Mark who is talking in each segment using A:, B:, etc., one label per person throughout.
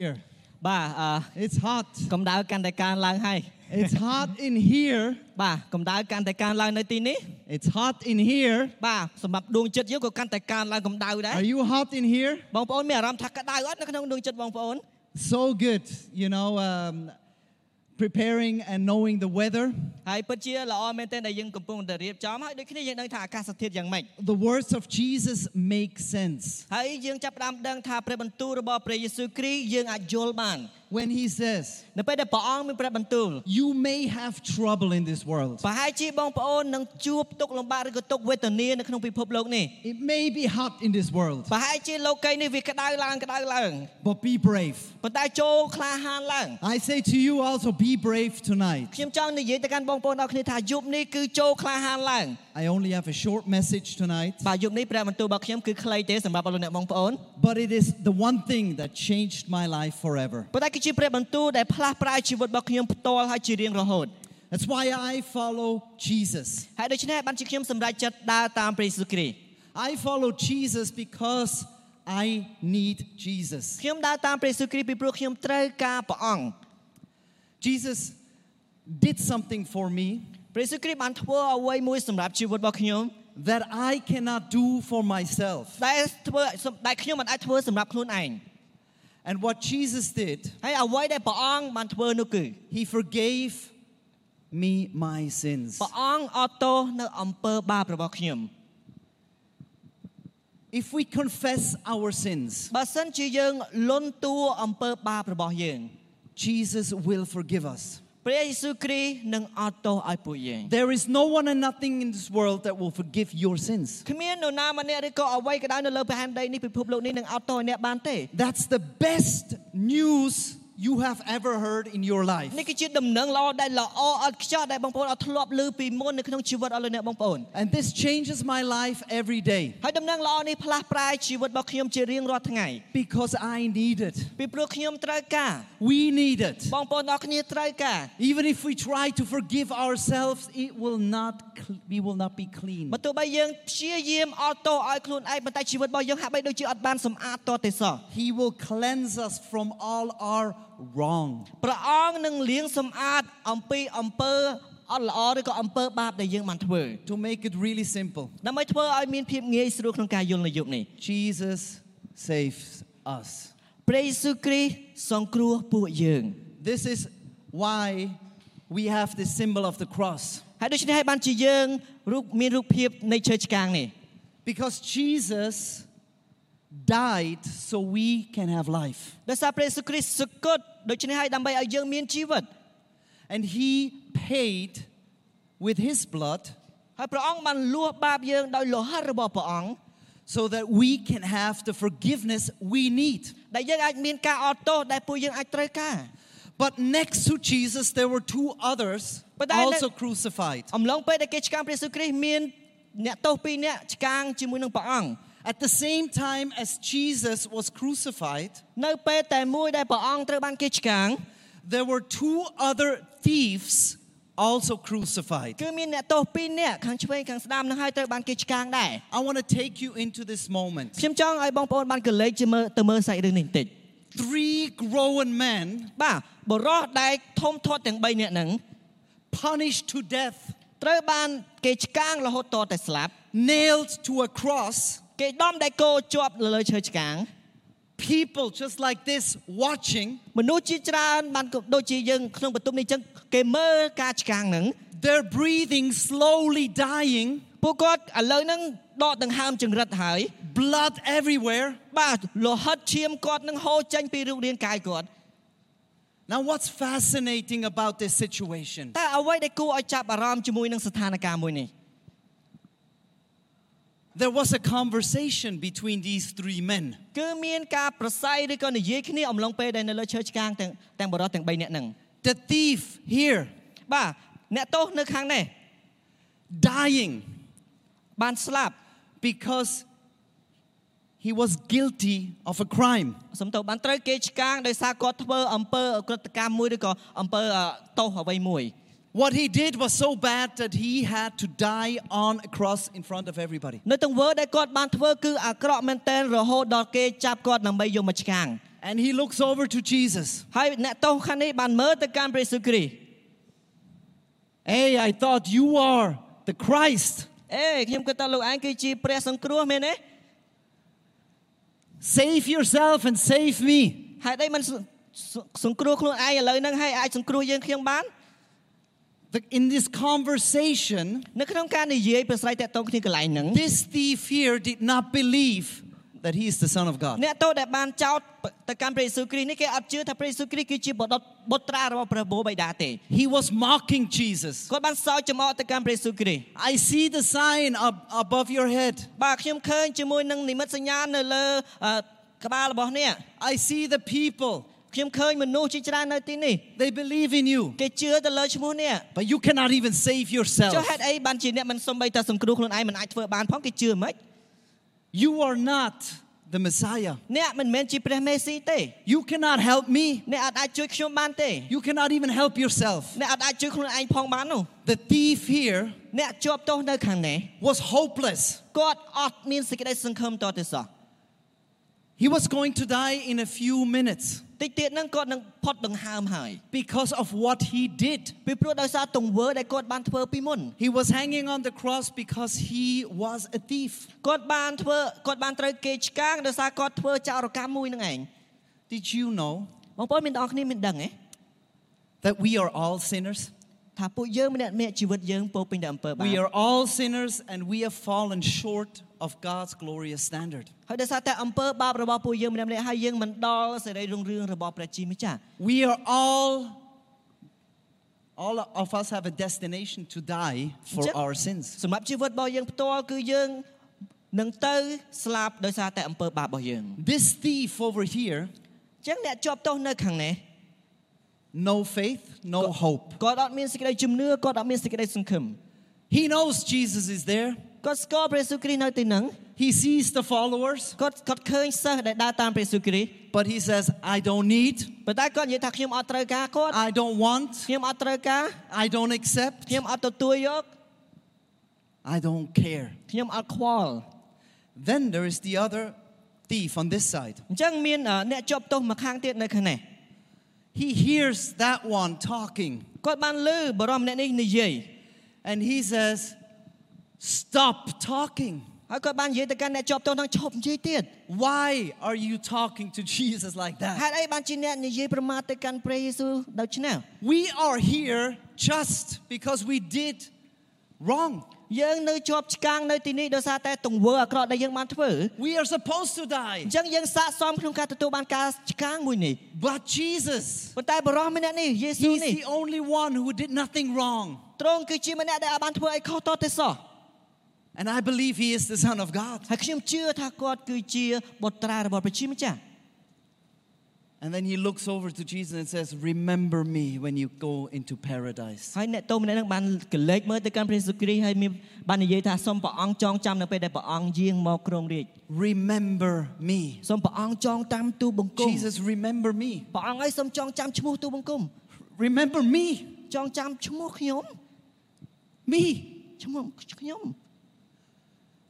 A: here.
B: បាទអឺ
A: It's hot.
B: កម្ដៅកាន់តែកើនឡើងហើយ
A: It's hot in here.
B: បាទកម្ដៅកាន់តែកើនឡើងនៅទីនេះ
A: It's hot in here.
B: បាទសម្រាប់ដួងចិត្តយើងក៏កាន់តែកើនឡើងកម្ដៅដែរ
A: Are you hot in here?
B: បងប្អូនមានអារម្មណ៍ថាក្ដៅអត់នៅក្នុងដួងចិត្តបងប្អូន
A: So good. You know, um, preparing and knowing the weather.
B: ហើយពិតជាល្អមែនទែនដែលយើងកំពុងតែរៀបចំហើយដូចគ្នាយើងដឹងថាអាកាសធាតុយ៉ាងម៉េច
A: The words of Jesus make sense
B: ហើយយើងចាប់ផ្ដើមដឹងថាព្រះបន្ទូលរបស់ព្រះយេស៊ូវគ្រីស្ទយើងអាចយល់បាន
A: when he says,
B: នៅពេលដែលព្រះអង្គមានព្រះបន្ទូល
A: You may have trouble in this world.
B: ប្រហែលជាបងប្អូននឹងជួបទុក្ខលំបាកឬក៏ទុក្ខវេទនានៅក្នុងពិភពលោកនេះ
A: It may be hot in this world,
B: ប្រហែលជាលោកីយ៍នេះវាក្តៅឡើងក្តៅឡើង
A: but be brave.
B: ប៉ុន្តែចូលក្លាហានឡើង
A: I say to you also, be brave tonight.
B: ខ្ញុំចង់និយាយទៅកាន់បងប្អូនអរគ្នាថាយប់នេះគឺចូលក្លាហានឡើង
A: I only have a short message tonight,
B: បាទយប់នេះព្រះបន្ទូលរបស់ខ្ញុំគឺខ្លីទេសម្រាប់អស់លោកអ្នកបងប្អូន
A: but it is the one thing that changed my life forever.
B: ប៉ុន្តែគឺជាព្រះបន្ទូលដែលផ្លាស់ប្រែជីវិតរបស់ខ្ញុំផ្ទាល់ហើយជារៀងរហូត
A: That's why I follow Jesus.
B: ហើយដូច្នេះបានជាខ្ញុំសម្រេចចិត្តដើរតាមព្រះយេស៊ូវគ្រីស្ទ
A: I follow Jesus because I need Jesus.
B: ខ្ញុំដើរតាមព្រះយេស៊ូវគ្រីស្ទពីព្រោះខ្ញុំត្រូវការព្រះអង្គ
A: Jesus did something for me
B: ព្រះយេស៊ូវគ្រីស្ទបានធ្វើអ្វីមួយសម្រាប់ជីវិតរបស់ខ្ញុំ
A: that I cannot do for myself.
B: ដែលធ្វើដែលខ្ញុំមិនអាចធ្វើសម្រាប់ខ្លួនឯង
A: And what Jesus did,
B: ហើយអ្វីដែលព្រះអង្គបានធ្វើនោះគឺ
A: he forgave me my sins.
B: ព្រះអង្គអត់ទោសនៅអំពើបាបរបស់ខ្ញុំ
A: If we confess our sins,
B: បើសិនជាយើងលន់តួអំពើបាបរបស់យើង
A: Jesus will forgive us.
B: ព្រះយេស៊ូវគ្រីស្ទនឹងអត់ទោសឲ្យពួកយើង
A: There is no one and nothing in this world that will forgive your sins.
B: គ្មាននរណាម្នាក់ឬក៏អ្វីក៏ដោយនៅលើផែនដីនេះពិភពលោកនេះនឹងអត់ទោសឲ្យអ្នកបានទេ
A: That's the best news you have ever heard in your life.
B: នេះគឺជាដំណឹងល្អដែលល្អអត់ខ្ចោះដែលបងប្អូនអត់ធ្លាប់ឮពីមុននៅក្នុងជីវិតអស់លោកអ្នកបងប្អូន
A: And this changes my life every day
B: ហើយដំណឹងល្អនេះផ្លាស់ប្រែជីវិតរបស់ខ្ញុំជារៀងរាល់ថ្ងៃ
A: because I need it.
B: ពីព្រោះខ្ញុំត្រូវការ
A: We need it.
B: បងប្អូនអរគ្នាត្រូវការ
A: Even if we try to forgive ourselves, it will not cle- we will not be clean.
B: បើទោះបីយើងព្យាយាមអត់ទោសឲ្យខ្លួនឯងប៉ុន្តែជីវិតរបស់យើងហាក់បីដូចជាអត់បានសម្អាតតទេសោះ
A: He will cleanse us from all our wrong.
B: ព្រះអង្គនឹងលាងសម្អាតអំពីអំពើអត់ល្អឬក៏អំពើបាបដែលយើងបានធ្វើ
A: To make it really simple,
B: ដើម្បីធ្វើឲ្យមានភាពងាយស្រួលក្នុងការយល់នៅយប់នេះ
A: Jesus saves us.
B: ព្រះយេស៊ូវគ្រីស្ទសង្គ្រោះពួកយើង
A: This is why we have the symbol of the cross.
B: ហើយដូច្នេះហើយបានជាយើងរូបមានរូបភាពនៃឈើឆ្កាងនេះ
A: Because Jesus died so we can have life.
B: ដោយសារព្រះយេស៊ូវគ្រីស្ទសគត់ដូច្នេះហើយដើម្បីឲ្យយើងមានជីវិត
A: And he paid with his blood
B: ហើយព្រះអង្គបានលួសបាបយើងដោយលោហិតរបស់ព្រះអង្គ
A: so that we can have the forgiveness we need.
B: ដែលយើងអាចមានការអត់ទោសដែលពួកយើងអាចត្រូវការ
A: But next to Jesus, there were two others
B: But I
A: also
B: let-
A: crucified.
B: អំឡុងពេលដែលគេឆ្កាងព្រះយេស៊ូវគ្រីស្ទមានអ្នកទោសពីរនាក់ឆ្កាងជាមួយនឹងព្រះអង្គ
A: At the same time as Jesus was crucified,
B: នៅពេលតែមួយដែលព្រះអង្គត្រូវបានគេឆ្កាង
A: there were two other thieves also crucified.
B: គឺមានអ្នកទោសពីរនាក់ខាងឆ្វេងខាងស្ដាំនឹងហើយត្រូវបានគេឆ្កាងដែរ
A: I want to take you into this moment.
B: ខ្ញុំចង់ឲ្យបងប្អូនបានកលេចជាមើលទៅមើលសាច់រឿងនេះបន្តិច
A: Three grown men
B: បាទបរោះដែលធំធាត់ទាំង3នាក់ហ្នឹង
A: punished to death,
B: ត្រូវបានគេឆ្កាងរហូតតតែស្លាប់
A: nailed to a cross,
B: គេដំដែលគោជាប់លើលើឈើឆ្កាង
A: people just like this watching.
B: មនុស្សជាច្រើនបានក៏ដូចជាយើងក្នុងបន្ទប់នេះអញ្ចឹងគេមើលការឆ្កាងហ្នឹង
A: They're breathing, slowly dying,
B: ពួកគាត់ឥឡូវហ្នឹងដកដង្ហើមចង្រិតហើយ
A: blood everywhere.
B: បាទលោហិតឈាមគាត់នឹងហូរចេញពីរូបរាងកាយគាត់
A: Now, what's fascinating about this situation?
B: តែអ្វីដែលគួរឲ្យចាប់អារម្មណ៍ជាមួយនឹងស្ថានភាពមួយនេះ
A: There was a conversation between these three men.
B: គឺមានការប្រស័យឬក៏និយាយគ្នាអំឡុងពេលដែលនៅលើឈើឆ្កាងទាំងទាំងបរិយទាំង3នាក់ហ្នឹង
A: The thief here,
B: បាទអ្នកទោសនៅខាងនេះ
A: dying
B: បានស្លាប់
A: because he was guilty of a crime.
B: សំទោសបានត្រូវគេឆ្កាងដោយសារគាត់ធ្វើអំពើអក្រកម្មមួយឬក៏អំពើអទោសអ្វីមួយ
A: What he did was so bad that he had to die on a cross in front of everybody.
B: នៅទង្វើដែលគាត់បានធ្វើគឺអាក្រក់មែនទែនរហូតដល់គេចាប់គាត់ដើម្បីយកមកឆ្កាង
A: and he looks over to Jesus.
B: ហើយអ្នកទោសខាងនេះបានមើលទៅកាន់ព្រះយេស៊ូវគ្រីស្ទ
A: Hey, I thought you are the Christ.
B: អេខ្ញុំគិតថាលោកឯងគឺជាព្រះសង្គ្រោះមែនទេ
A: Save yourself and save me.
B: ហេតុអីមិនសង្គ្រោះខ្លួនឯងឥឡូវហ្នឹងហើយអាចសង្គ្រោះយើងខ្ញុំបាន
A: The- in this conversation,
B: នៅក្នុងការនិយាយប្រស្រ័យតាក់ទងគ្នាកន្លែងហ្នឹង
A: this thief here did not believe that he is the Son of God.
B: អ្នកទោសដែលបានចោទទៅកាន់ព្រះយេស៊ូវគ្រីស្ទនេះគេអត់ជឿថាព្រះយេស៊ូវគ្រីស្ទគឺជាបុដិបុត្រារបស់ព្រះបូរបិតាទេ
A: He was mocking Jesus.
B: គាត់បានសោកចំអកទៅកាន់ព្រះយេស៊ូវគ្រីស្ទ
A: I see the sign up above your head.
B: បាទខ្ញុំឃើញជាមួយនឹងនិមិត្តសញ្ញានៅលើអឺក្បាលរបស់អ្នក
A: I see the people.
B: ខ្ញុំឃើញមនុស្សជាច្រើននៅទីនេះ
A: They believe in you.
B: គេជឿទៅលើឈ្មោះអ្នក
A: But you cannot even save
B: ចុះ
A: yourself.
B: ហេតុអីបានជាអ្នកមិនសំបីតែសង្គ្រោះខ្លួនឯងមិនអាចធ្វើបានផងគេជឿមិន
A: You are not the Messiah.
B: អ្នកមិនមែនជាព្រះមេស៊ីទេ
A: You cannot help me.
B: អ្នកអត់អាចជួយខ្ញុំបានទេ
A: You cannot even help yourself.
B: អ្នកអត់អាចជួយខ្លួនឯងផងបាននោះ
A: The thief here
B: អ្នកជាប់ទោសនៅខាងនេះ
A: was hopeless.
B: គាត់អត់មានសេចក្តីសង្ឃឹមតទៅសោះ
A: He was going to die in a few minutes
B: តិចទៀតហ្នឹងគាត់នឹងផុតដង្ហើមហើយ
A: because of what he did.
B: ពីព្រោះដោយសារទង្វើដែលគាត់បានធ្វើពីមុន
A: He was hanging on the cross because he was a thief.
B: គាត់បានធ្វើគាត់បានត្រូវគេឆ្កាងដោយសារគាត់ធ្វើចោរកម្មមួយហ្នឹងឯង
A: Did you know
B: បងប្អូនមានអ្នកនរគ្នាមានដឹងទេ
A: that we are all sinners?
B: ថាពួកយើងម្នាក់ៗជីវិតយើងពោរពេញដោយអំពើបាប
A: We are all sinners and we have fallen short of God's glorious standard.
B: ហើយដោយសារតែអំពើបាបរបស់ពួកយើងម្នាក់ៗហើយយើងមិនដល់សេរីរុងរឿងរបស់ព្រះជាម្ចាស់
A: We are all all of us have a destination to die for
B: Just-
A: our sins.
B: សម្រាប់ជីវិតរបស់យើងផ្ទាល់គឺយើងនឹងទៅស្លាប់ដោយសារតែអំពើបាបរបស់យើង
A: This thief over here,
B: អញ្ចឹងអ្នកជាប់ទោសនៅខាងនេះ
A: no faith, no hope.
B: គាត់អត់មានសេចក្តីជំនឿគាត់អត់មានសេចក្តីសង្ឃឹម
A: He knows Jesus is there.
B: គាត់ស្គាល់ព្រះយេស៊ូវគ្រីស្ទនៅទីហ្នឹង
A: He sees the followers,
B: គាត់គាត់ឃើញសិស្សដែលដើរតាមព្រះយេស៊ូវគ្រីស្ទ
A: but he says, "I don't need,
B: ប៉ុន្តែគាត់និយាយថាខ្ញុំអត់ត្រូវការគាត់
A: I don't want,
B: ខ្ញុំអត់ត្រូវការ
A: I don't accept,
B: ខ្ញុំអត់ទទួលយក
A: I don't care."
B: ខ្ញុំអត់ខ្វល់
A: Then there is the other thief on this side.
B: អញ្ចឹងមានអឺអ្នកជាប់ទោសមកខាងទៀតនៅខាងនេះ
A: He hears that one talking
B: គាត់បានលឺបរិមម្នាក់នេះនិយាយ
A: and he says, "Stop talking.
B: ហើយគាត់បាននិយាយទៅកាន់អ្នកជាប់ទោសហ្នឹងឈប់និយាយទៀត
A: Why are you talking to Jesus like that?"
B: ហេតុអីបានជាអ្នកនិយាយប្រមាថទៅកាន់ព្រះយេស៊ូវដូច្នេះ
A: We are here just because we did wrong.
B: យើងនៅជាប់ឆ្កាងនៅទីនេះដោយសារតែទង្វើអាក្រក់ដែលយើងបានធ្វើ
A: We are supposed to
B: អ
A: die.
B: ញ្ចឹងយើងសាកសមក្នុងការទទួលបានការឆ្កាងមួយនេះ
A: But Jesus,
B: ប៉ុន្តែបរិមម្នាក់នេះយេស៊ូវ
A: He's
B: នេះ
A: the only one who did nothing wrong.
B: ទ្រង់គឺជាម្នាក់ដែលអាចបានធ្វើអីខុសតទៅសោះ
A: And I believe He is the Son of God.
B: ហើយខ្ញុំជឿថាគាត់គឺជាបុត្រារបស់ព្រះជាម្ចាស់
A: And then He looks over to Jesus and says, Remember me when you go into paradise.
B: ហើយអ្នកទោសម្នាក់ហ្នឹងបានកលេចមើលទៅកាន់ព្រះយេស៊ូវគ្រីស្ទហើយមានបាននិយាយថាសូមព្រះអង្គចងចាំនៅពេលដែលព្រះអង្គយាងមកគ្រងរាជ
A: Remember me.
B: សូមព្រះអង្គចងតាមទូលបង្គំ
A: Jesus, remember me.
B: ព្រះអង្គឲ្យសូមចងចាំឈ្មោះទូលបង្គំ
A: Remember me.
B: ចងចាំឈ្មោះខ្ញុំ
A: Me.
B: ឈ្មោះខ្ញុំ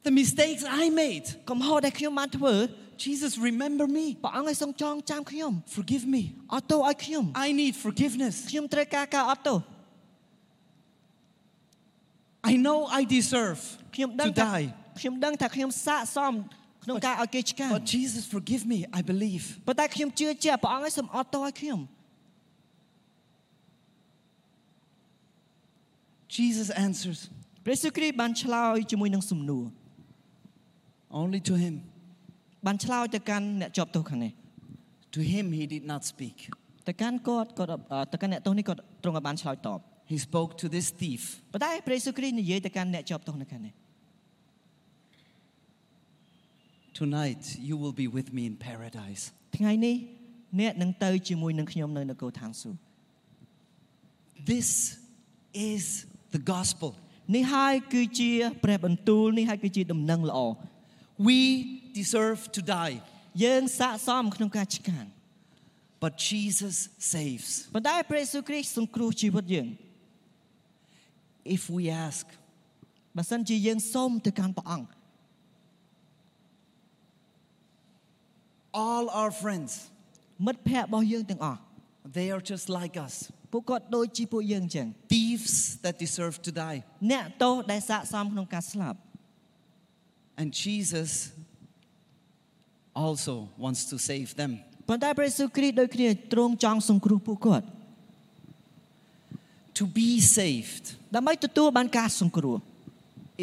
A: The mistakes I made.
B: កំហុសដែលខ្ញុំបានធ្វើ
A: Jesus, remember me.
B: ព្រះអង្គឲ្យសូមចងចាំខ្ញុំ
A: Forgive me.
B: អត់ទោសឲ្យខ្ញុំ
A: I need forgiveness.
B: ខ្ញុំត្រូវការការអត់ទោស
A: I know I deserve
B: ខ្ញុំដឹង
A: to
B: ថា
A: die.
B: ខ្ញុំដឹងថាខ្ញុំសាកសមក្នុងការឲ្យគេឆ្កាង
A: But Jesus, forgive me, I believe.
B: ប៉ុន្តែខ្ញុំជឿជាក់ព្រះអង្គឲ្យសូមអត់ទោសឲ្យខ្ញុំ
A: Jesus answers
B: ព្រះយេស៊ូវគ្រីស្ទបានឆ្លើយជាមួយនឹងសំណួរ
A: only to him.
B: បានឆ្លើយទៅកាន់អ្នកជាប់ទោសខាងនេះ
A: To him he did not speak.
B: ទៅកាន់គាត់គាត់អត់ទៅកាន់អ្នកទោសនេះគាត់ទ្រង់ឲ្យបានឆ្លើយតប
A: He spoke to this thief.
B: ប៉ុន្តែព្រះយេស៊ូវគ្រីស្ទនិយាយទៅកាន់អ្នកជាប់ទោសនៅខាងនេះ
A: Tonight you will be with me in paradise.
B: ថ្ងៃនេះអ្នកនឹងទៅជាមួយនឹងខ្ញុំនៅនគរឋានសួគ៌
A: This is the gospel.
B: នេះហើយគឺជាព្រះបន្ទូលនេះហើយគឺជាដំណឹងល្អ
A: We deserve to die,
B: យើងសាកសមក្នុងការឆ្កាង
A: but Jesus saves.
B: ប៉ុន្តែព្រះយេស៊ូវគ្រីស្ទសង្គ្រោះជីវិតយើង
A: If we ask,
B: បើសិនជាយើងសូមទៅកាន់ព្រះអង្គ
A: all our friends,
B: មិត្តភ័ក្តិរបស់យើងទាំងអស់
A: They are just like us
B: ពួកគាត់ដូចជាពួកយើងអញ្ចឹង
A: thieves that deserve to die.
B: អ្នកទោសដែលសាកសមក្នុងការស្លាប់
A: And Jesus also wants to save them.
B: ប៉ុន្តែព្រះយេស៊ូវគ្រីស្ទដូចគ្នាទ្រង់ចង់សង្គ្រោះពួកគាត់
A: To be saved
B: ដើម្បីទទួលបានការសង្គ្រោះ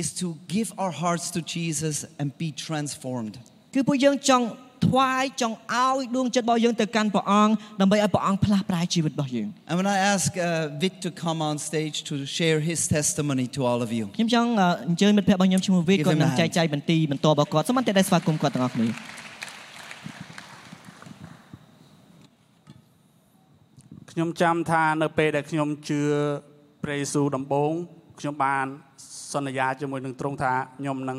A: is to give our hearts to Jesus and be transformed.
B: គឺពួកយើងចង់ថ្វាយចង់ឲ្យដួងចិត្តរបស់យើងទៅកាន់ព្រះអង្គដើម្បីឲ្យព្រះអង្គផ្លាស់ប្រែជីវិតរបស់យើង
A: And when I ask uh, Vic to come on stage to share his testimony to all of you,
B: ខ្ញុំចង់អឺអញ្ជើញមិត្តភ័ក្តិរបស់ខ្ញុំឈ្មោះវិទ្យ
A: Give
B: គាត់
A: him a
B: នឹង
A: hand.
B: ចែកចាយបន្ទីបន្តរបស់គាត់សូមអន្តរតែស្វាគមន៍គាត់ទាំងអស់គ្នា
C: ខ្ញុំចាំថានៅពេលដែលខ្ញុំជឿព្រះយេស៊ូវដំបូងខ្ញុំបានសន្យាជាមួយនឹងទ្រង់ថាខ្ញុំនឹង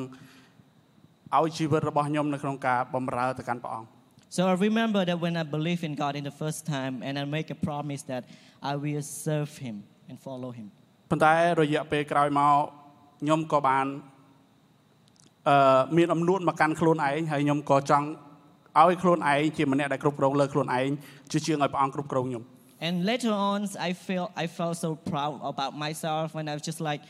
C: ឲ្យជីវិតរបស់ខ្ញុំនៅក្នុងការបម្រើទៅកាន់ព្រះអង្គ
B: So I remember that when I believed in God in the first time and I make a promise that I will serve him and follow him
C: ប៉ុន្តែរយៈពេលក្រោយមកខ្ញុំក៏បានអឺមានអំនួតមកកាន់ខ្លួនឯងហើយខ្ញុំក៏ចង់ឲ្យខ្លួនឯងជាម្នាក់ដែលគ្រប់គ្រងលើខ្លួនឯងជាជាងឲ្យព្រះអង្គគ្រប់គ្រងខ្ញុំ
B: And later on, I felt I felt so proud about myself, and I was just like,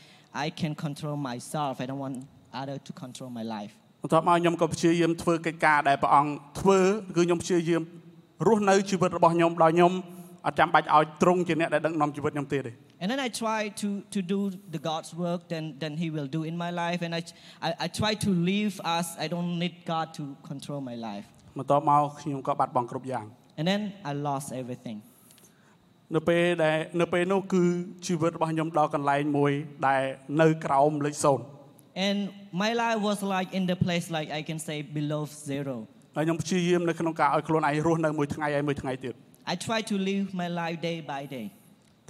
B: I can control myself. I don't want other to control my life.
C: បន្ទាប់មកខ្ញុំក៏ព្យាយាមធ្វើកិច្ចការដែលព្រះអង្គធ្វើគឺខ្ញុំព្យាយាមរស់នៅជីវិតរបស់ខ្ញុំដោយខ្ញុំអត់ចាំបាច់ឲ្យទ្រង់ជាអ្នកដែលដឹកនាំជីវិតខ្ញុំទេទេ
B: And then I try to, to do the God's work than, than He will do in my life, and I, I, I try to live as I don't need God to control my life.
C: បន្ទាប់មកខ្ញុំក៏បាត់បង់គ្រប់យ៉ាង
B: And then I lost everything.
C: នៅពេលដែលនៅពេលនោះគឺជីវិតរបស់ខ្ញុំដល់កន្លែងមួយដែលនៅក្រោមលេខ0
B: And my life was like in the place like I can say below zero.
C: ហើយខ្ញុំព្យាយាមនៅក្នុងការឲ្យខ្លួនឯងរស់នៅមួយថ្ងៃហើយមួយថ្ងៃទៀត
B: I try to live my life day by day.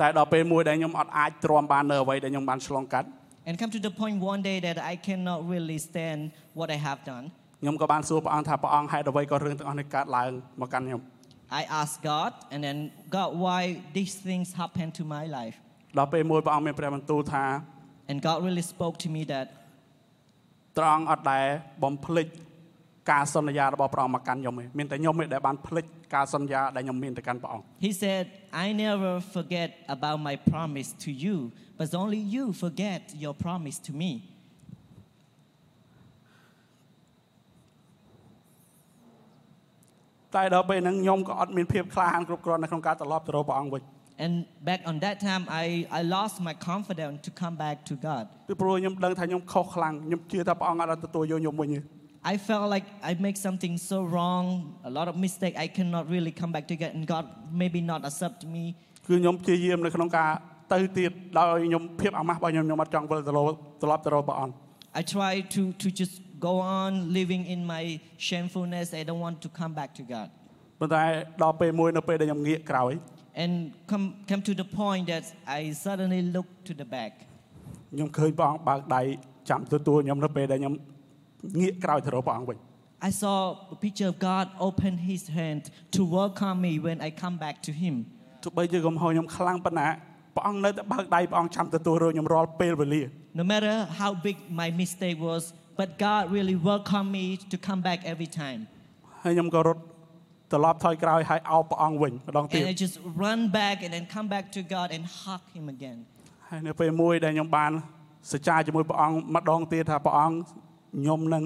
C: តែដល់ពេលមួយដែលខ្ញុំអត់អាចទ្រាំបាននៅអ្វីដែលខ្ញុំបានឆ្លងកាត់
B: And come to the point one day that I cannot really stand what I have done.
C: ខ្ញុំក៏បានសួរព្រះអង្គថាព្រះអង្គហេតុអ្វីក៏រឿងទាំងអស់នេះកើតឡើងមកកាន់ខ្ញុំ
B: I asked God, and then God, why these things happen to my life?
C: ដល់ពេលមួយព្រះអង្គមានព្រះបន្ទូលថា
B: And God really spoke to me that
C: ត្រង់អត់ដែលបំភ្លេចការសន្យារបស់ព្រះអង្គមកកាន់ខ្ញុំទេមានតែខ្ញុំទេដែលបានភ្លេចការសន្យាដែលខ្ញុំមានទៅកាន់ព្រះអង្គ
B: He said, I never forget about my promise to you, but only you forget your promise to me.
C: តែដល់ពេលហ្នឹងខ្ញុំក៏អត់មានភាពក្លាហានគ្រប់គ្រាន់នៅក្នុងការត្រឡប់ទៅរកព្រះអង្គវិញ
B: And back on that time, I, I lost my confidence to come back to God.
C: ពីព្រោះខ្ញុំដឹងថាខ្ញុំខុសខ្លាំងខ្ញុំជឿថាព្រះអង្គអត់បានទទួលយកខ្ញុំវិញទេ
B: I felt like I make something so wrong, a lot of mistake. I cannot really come back to God, and God maybe not accept me.
C: គឺខ្ញុំព្យាយាមនៅក្នុងការទៅទៀតដោយខ្ញុំភាពអាម៉ាស់របស់ខ្ញុំខ្ញុំអត់ចង់វិលទៅរកត្រឡប់ទៅរកព្រះអង្គ
B: I try to, to just go on living in my shamefulness. I don't want to come back to God.
C: ប៉ុន្តែដល់ពេលមួយនៅពេលដែលខ្ញុំងាកក្រោយ
B: And come, come to the point that I suddenly look to the back.
C: ខ្ញុំឃើញព្រះអង្គបើកដៃចាំទទួលខ្ញុំនៅពេលដែលខ្ញុំងាកក្រោយទៅរកព្រះអង្គវិញ
B: I saw a picture of God open his hand to welcome me when I come back to him.
C: ទោះបីជាកំហុសខ្ញុំខ្លាំងប៉ុណ្ណាព្រះអង្គនៅតែបើកដៃព្រះអង្គចាំទទួលរកខ្ញុំរាល់ពេលវេលា
B: No matter how big my mistake was, but God really welcomed me to come back every time.
C: ហើយខ្ញុំក៏រត់ត្រឡប់ថយក្រោយហើយអោបព្រះអង្គវិញម្ដងទៀត
B: And I just run back and then come back to God and hug him again.
C: ហើយនៅពេលមួយដែលខ្ញុំបានសច្ចាជាមួយព្រះអង្គម្ដងទៀតថាព្រះអង្គខ្ញុំនឹង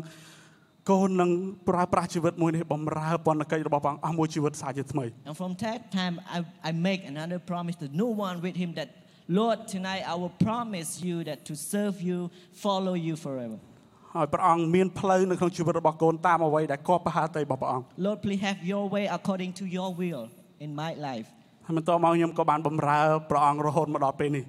C: កូននឹងប្រើប្រាស់ជីវិតមួយនេះបំរើពន្ធកិច្ចរបស់ព្រះអង្គអស់មួយជីវិតសារជាថ្មី
B: And from that time, I, I make another promise to no one with him that, Lord, tonight I will promise you that to serve you, follow you forever.
C: ហើយព្រះអង្គមានផ្លូវនៅក្នុងជីវិតរបស់កូនតាមអ្វីដែលគាត់ប្រហារតីរបស់ព្រះអង្គ
B: Lord, please have your way according to your will in my life.
C: ហើយបន្តមកខ្ញុំក៏បានបំរើព្រះអង្គរហូតមកដល់ពេលនេះ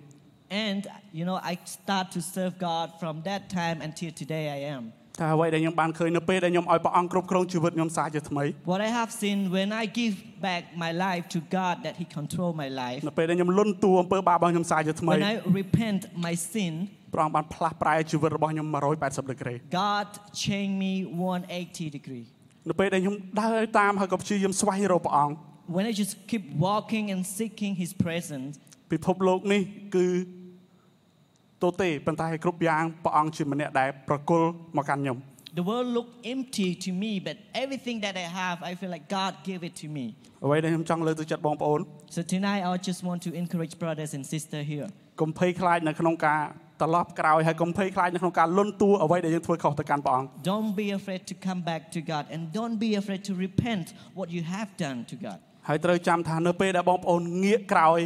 B: And, you know, I start to serve God from that time until today I am.
C: តែអ្វីដែលខ្ញុំបានឃើញនៅពេលដែលខ្ញុំឲ្យព្រះអង្គគ្រប់គ្រងជីវិតខ្ញុំសារជាថ្មី
B: What I have seen when I give back my life to God, that He control my life.
C: នៅពេលដែលខ្ញុំលុនតួអំពើបាបរបស់ខ្ញុំសារជាថ្មី
B: When I repent my sin,
C: ព្រះអង្គបានផ្លាស់ប្រែជីវិតរបស់ខ្ញុំ180ដឺក្រេ
B: God changed me 180 degree.
C: នៅពេលដែលខ្ញុំដើរតាមហើយក៏ព្យាយាមស្វែងរកព្រះអង្គ
B: When I just keep walking and seeking His presence,
C: ពិភពលោកនេះគឺទោះទេប៉ុន្តែគ្រប់យ៉ាងព្រះអង្គជាម្នាក់ដែលប្រគល់មកកាន់ខ្ញុំ
B: The world looked empty to me, but everything that I have, I feel like God gave it to me.
C: អ្វីដែលខ្ញុំចង់លើកទឹកចិត្តបងប្អូន
B: So tonight, I just want to encourage brothers and sisters here.
C: កុំភ័យខ្លាចនៅក្នុងការត្រឡប់ក្រោយហើយកុំភ័យខ្លាចនៅក្នុងការលុនតួអ្វីដែលយើងធ្វើខុសទៅកាន់ព្រះអង្គ
B: Don't be afraid to come back to God, and don't be afraid to repent what you have done to God.
C: ហើយត្រូវចាំថានៅពេលដែលបងប្អូនងាកក្រោយ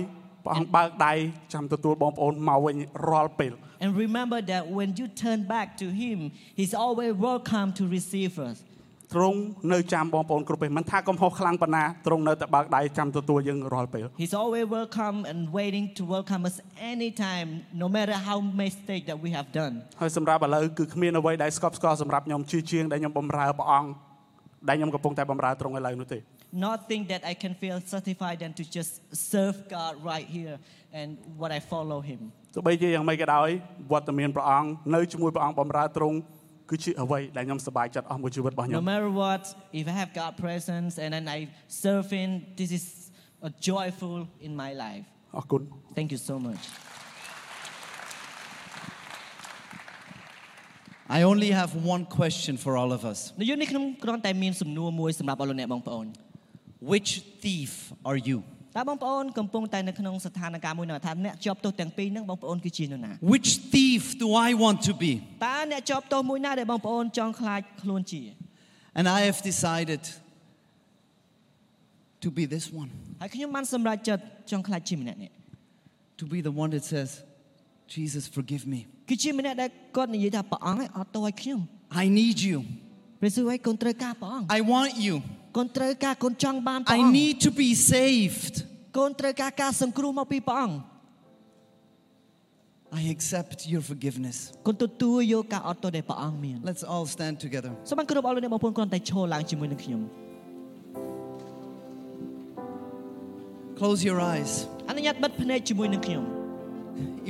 C: ព្រះអង្គបើកដៃចាំទទួលបងប្អូនមកវិញរាល់ពេល
B: And remember that when you turn back to Him, He's always welcome to receive us.
C: ទ្រង់នៅចាំបងប្អូនគ្រប់ពេលមិនថាកំហុសខ្លាំងប៉ុណ្ណាទ្រង់នៅតែបើកដៃចាំទទួលយើងរាល់ពេល
B: He's always welcome and waiting to welcome us anytime, no matter how mistake that we have done.
C: ហើយសម្រាប់ឥឡូវគឺគ្មានអ្វីដែលស្កប់ស្កល់សម្រាប់ខ្ញុំជាជាងដែលខ្ញុំបំរើព្រះអង្គដែលខ្ញុំកំពុងតែបំរើទ្រង់ឥឡូវនោះទេ
B: Nothing that I can feel satisfied than to just serve God right here and what I follow Him.
C: ទោះបីជាយ៉ាងម៉េចក៏ដោយវត្តមានព្រះអង្គនៅជាមួយព្រះអង្គបំរើទ្រង់គឺជាអ្វីដែលខ្ញុំសប្បាយចិត្តអស់មួយជីវិតរបស់ខ្ញុំ
B: No matter what, if I have God presence and then I serve Him, this is a joyful in my life.
C: អរគុណ
B: Thank you so much.
A: I only have one question for all of us
B: នៅយនេះខ្ញុំគ្រាន់តែមានសំណួរមួយសម្រាប់អស់លោកអ្នកបងប្អូន
A: Which thief are you?
B: តើបងប្អូនកំពុងតែនៅក្នុងស្ថានភាពមួយនៅថាអ្នកជាប់ទោសទាំងពីរហ្នឹងបងប្អូនគឺជានរណា
A: Which thief do I want to be?
B: តើអ្នកជាប់ទោសមួយណាដែលបងប្អូនចង់ខ្លាចខ្លួនជា
A: And I have decided to be this one,
B: ហើយខ្ញុំបានសម្រេចចិត្តចង់ខ្លាចជាម្នាក់នេះ
A: to be the one that says, Jesus, forgive me.
B: គឺជាម្នាក់ដែលគាត់និយាយថាព្រះអង្គឯងអត់ទោសឲ្យខ្ញុំ
A: I need you.
B: ព្រះសួរឲ្យកូនត្រូវការព្រះអង្គ
A: I want you.
B: កូនត្រូវការកូនចង់បានព្រះ
A: I
B: អង្គ
A: need to be saved.
B: កូនត្រូវការការសង្គ្រោះមកពីព្រះអង្គ
A: I accept your forgiveness.
B: កូនទទួលយកការអត់ទោសដែលព្រះអង្គមាន
A: Let's all stand together.
B: សូមបានគោរពអរលោកអ្នកបងប្អូនគ្រាន់តែឈរឡើងជាមួយនឹងខ្ញុំ
A: Close your eyes.
B: អនុញ្ញាតបិទភ្នែកជាមួយនឹងខ្ញុំ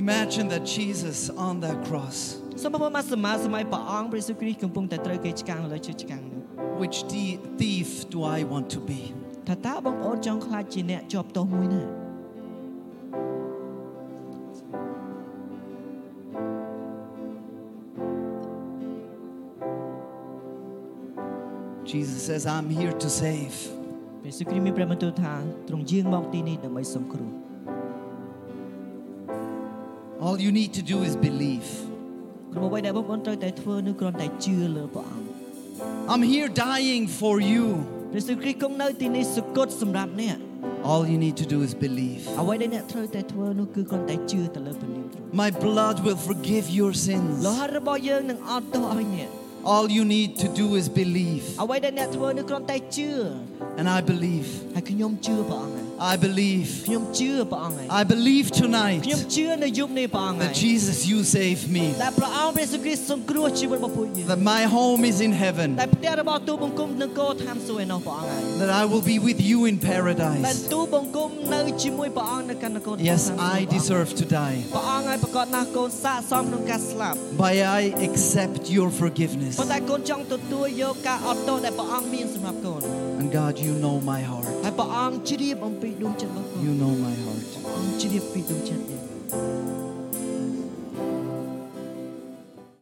A: Imagine that Jesus on that cross.
B: សូមបងប្អូនមកសមាសម័យព្រះអង្គព្រះយេស៊ូវគ្រីស្ទកំពុងតែត្រូវគេឆ្កាំងលើជើងឆ្កាំងនោះ
A: Which thi- thief do I want to be?
B: ថាតើបងប្អូនចង់ខ្លាចជាអ្នកជាប់ទោសមួយណា
A: Jesus says, I'm here to save.
B: ព្រះយេស៊ូវគ្រីស្ទមានព្រះបន្ទូលថាទ្រង់យាងមកទីនេះដើម្បីសង្គ្រោះ
A: All you need to do is believe.
B: គ្រប់អ្វីដែលបងប្អូនត្រូវតែធ្វើនោះគ្រាន់តែជឿលើព្រះអង្គ
A: I'm here dying for you.
B: ព្រះយេស៊ូវគ្រីស្ទគង់នៅទីនេះសគត់សម្រាប់អ្នក
A: All you need to do is believe.
B: អ្វីដែលអ្នកត្រូវតែធ្វើនោះគឺគ្រាន់តែជឿទៅលើព្រះនាមទ្រង់
A: My blood will forgive your sins.
B: លោហិតរបស់យើងនឹងអត់ទោសឲ្យអ្នក
A: All you need to do is believe.
B: អ្វីដែលអ្នកធ្វើនោះគ្រាន់តែជឿ
A: And I believe.
B: ហើយខ្ញុំជឿព្រះអង្គហើយ
A: I believe.
B: ខ្ញុំជឿព្រះអង្គហើយ
A: I believe
B: ខ្ញុំ
A: tonight
B: ជឿនៅយុគនេះព្រះអង្គហើ
A: that
B: យ
A: Jesus, you save me.
B: ដែលព្រះអង្គព្រះយេស៊ូវគ្រីស្ទសង្គ្រោះជីវិតរបស់ពួកយើង
A: That my home is in heaven.
B: តែផ្ទះរបស់ទូលបង្គំនឹងកោតាមសួរឯណោះព្រះអង្គហើយ
A: That I will be with you in
B: ដែល
A: paradise.
B: ទូលបង្គំនៅជាមួយព្រះអង្គនៅកណ្ដកូន
A: Yes, I deserve to die.
B: ព្រះអង្គហើយប្រកាសណាស់កូនសាកសមក្នុងការស្លាប់
A: But I accept your forgiveness.
B: ប៉ុន្តែកូនចង់ទទួលយកការអត់ទោសដែលព្រះអង្គមានសម្រាប់កូន
A: And God, you know my heart.
B: ហើយព្រះអង្គជ្រាបអំពីដួងចិត្តរបស់កូន
A: You know my heart.
B: ព្រះអង្គជ្រាបពីដួងចិត្តយើង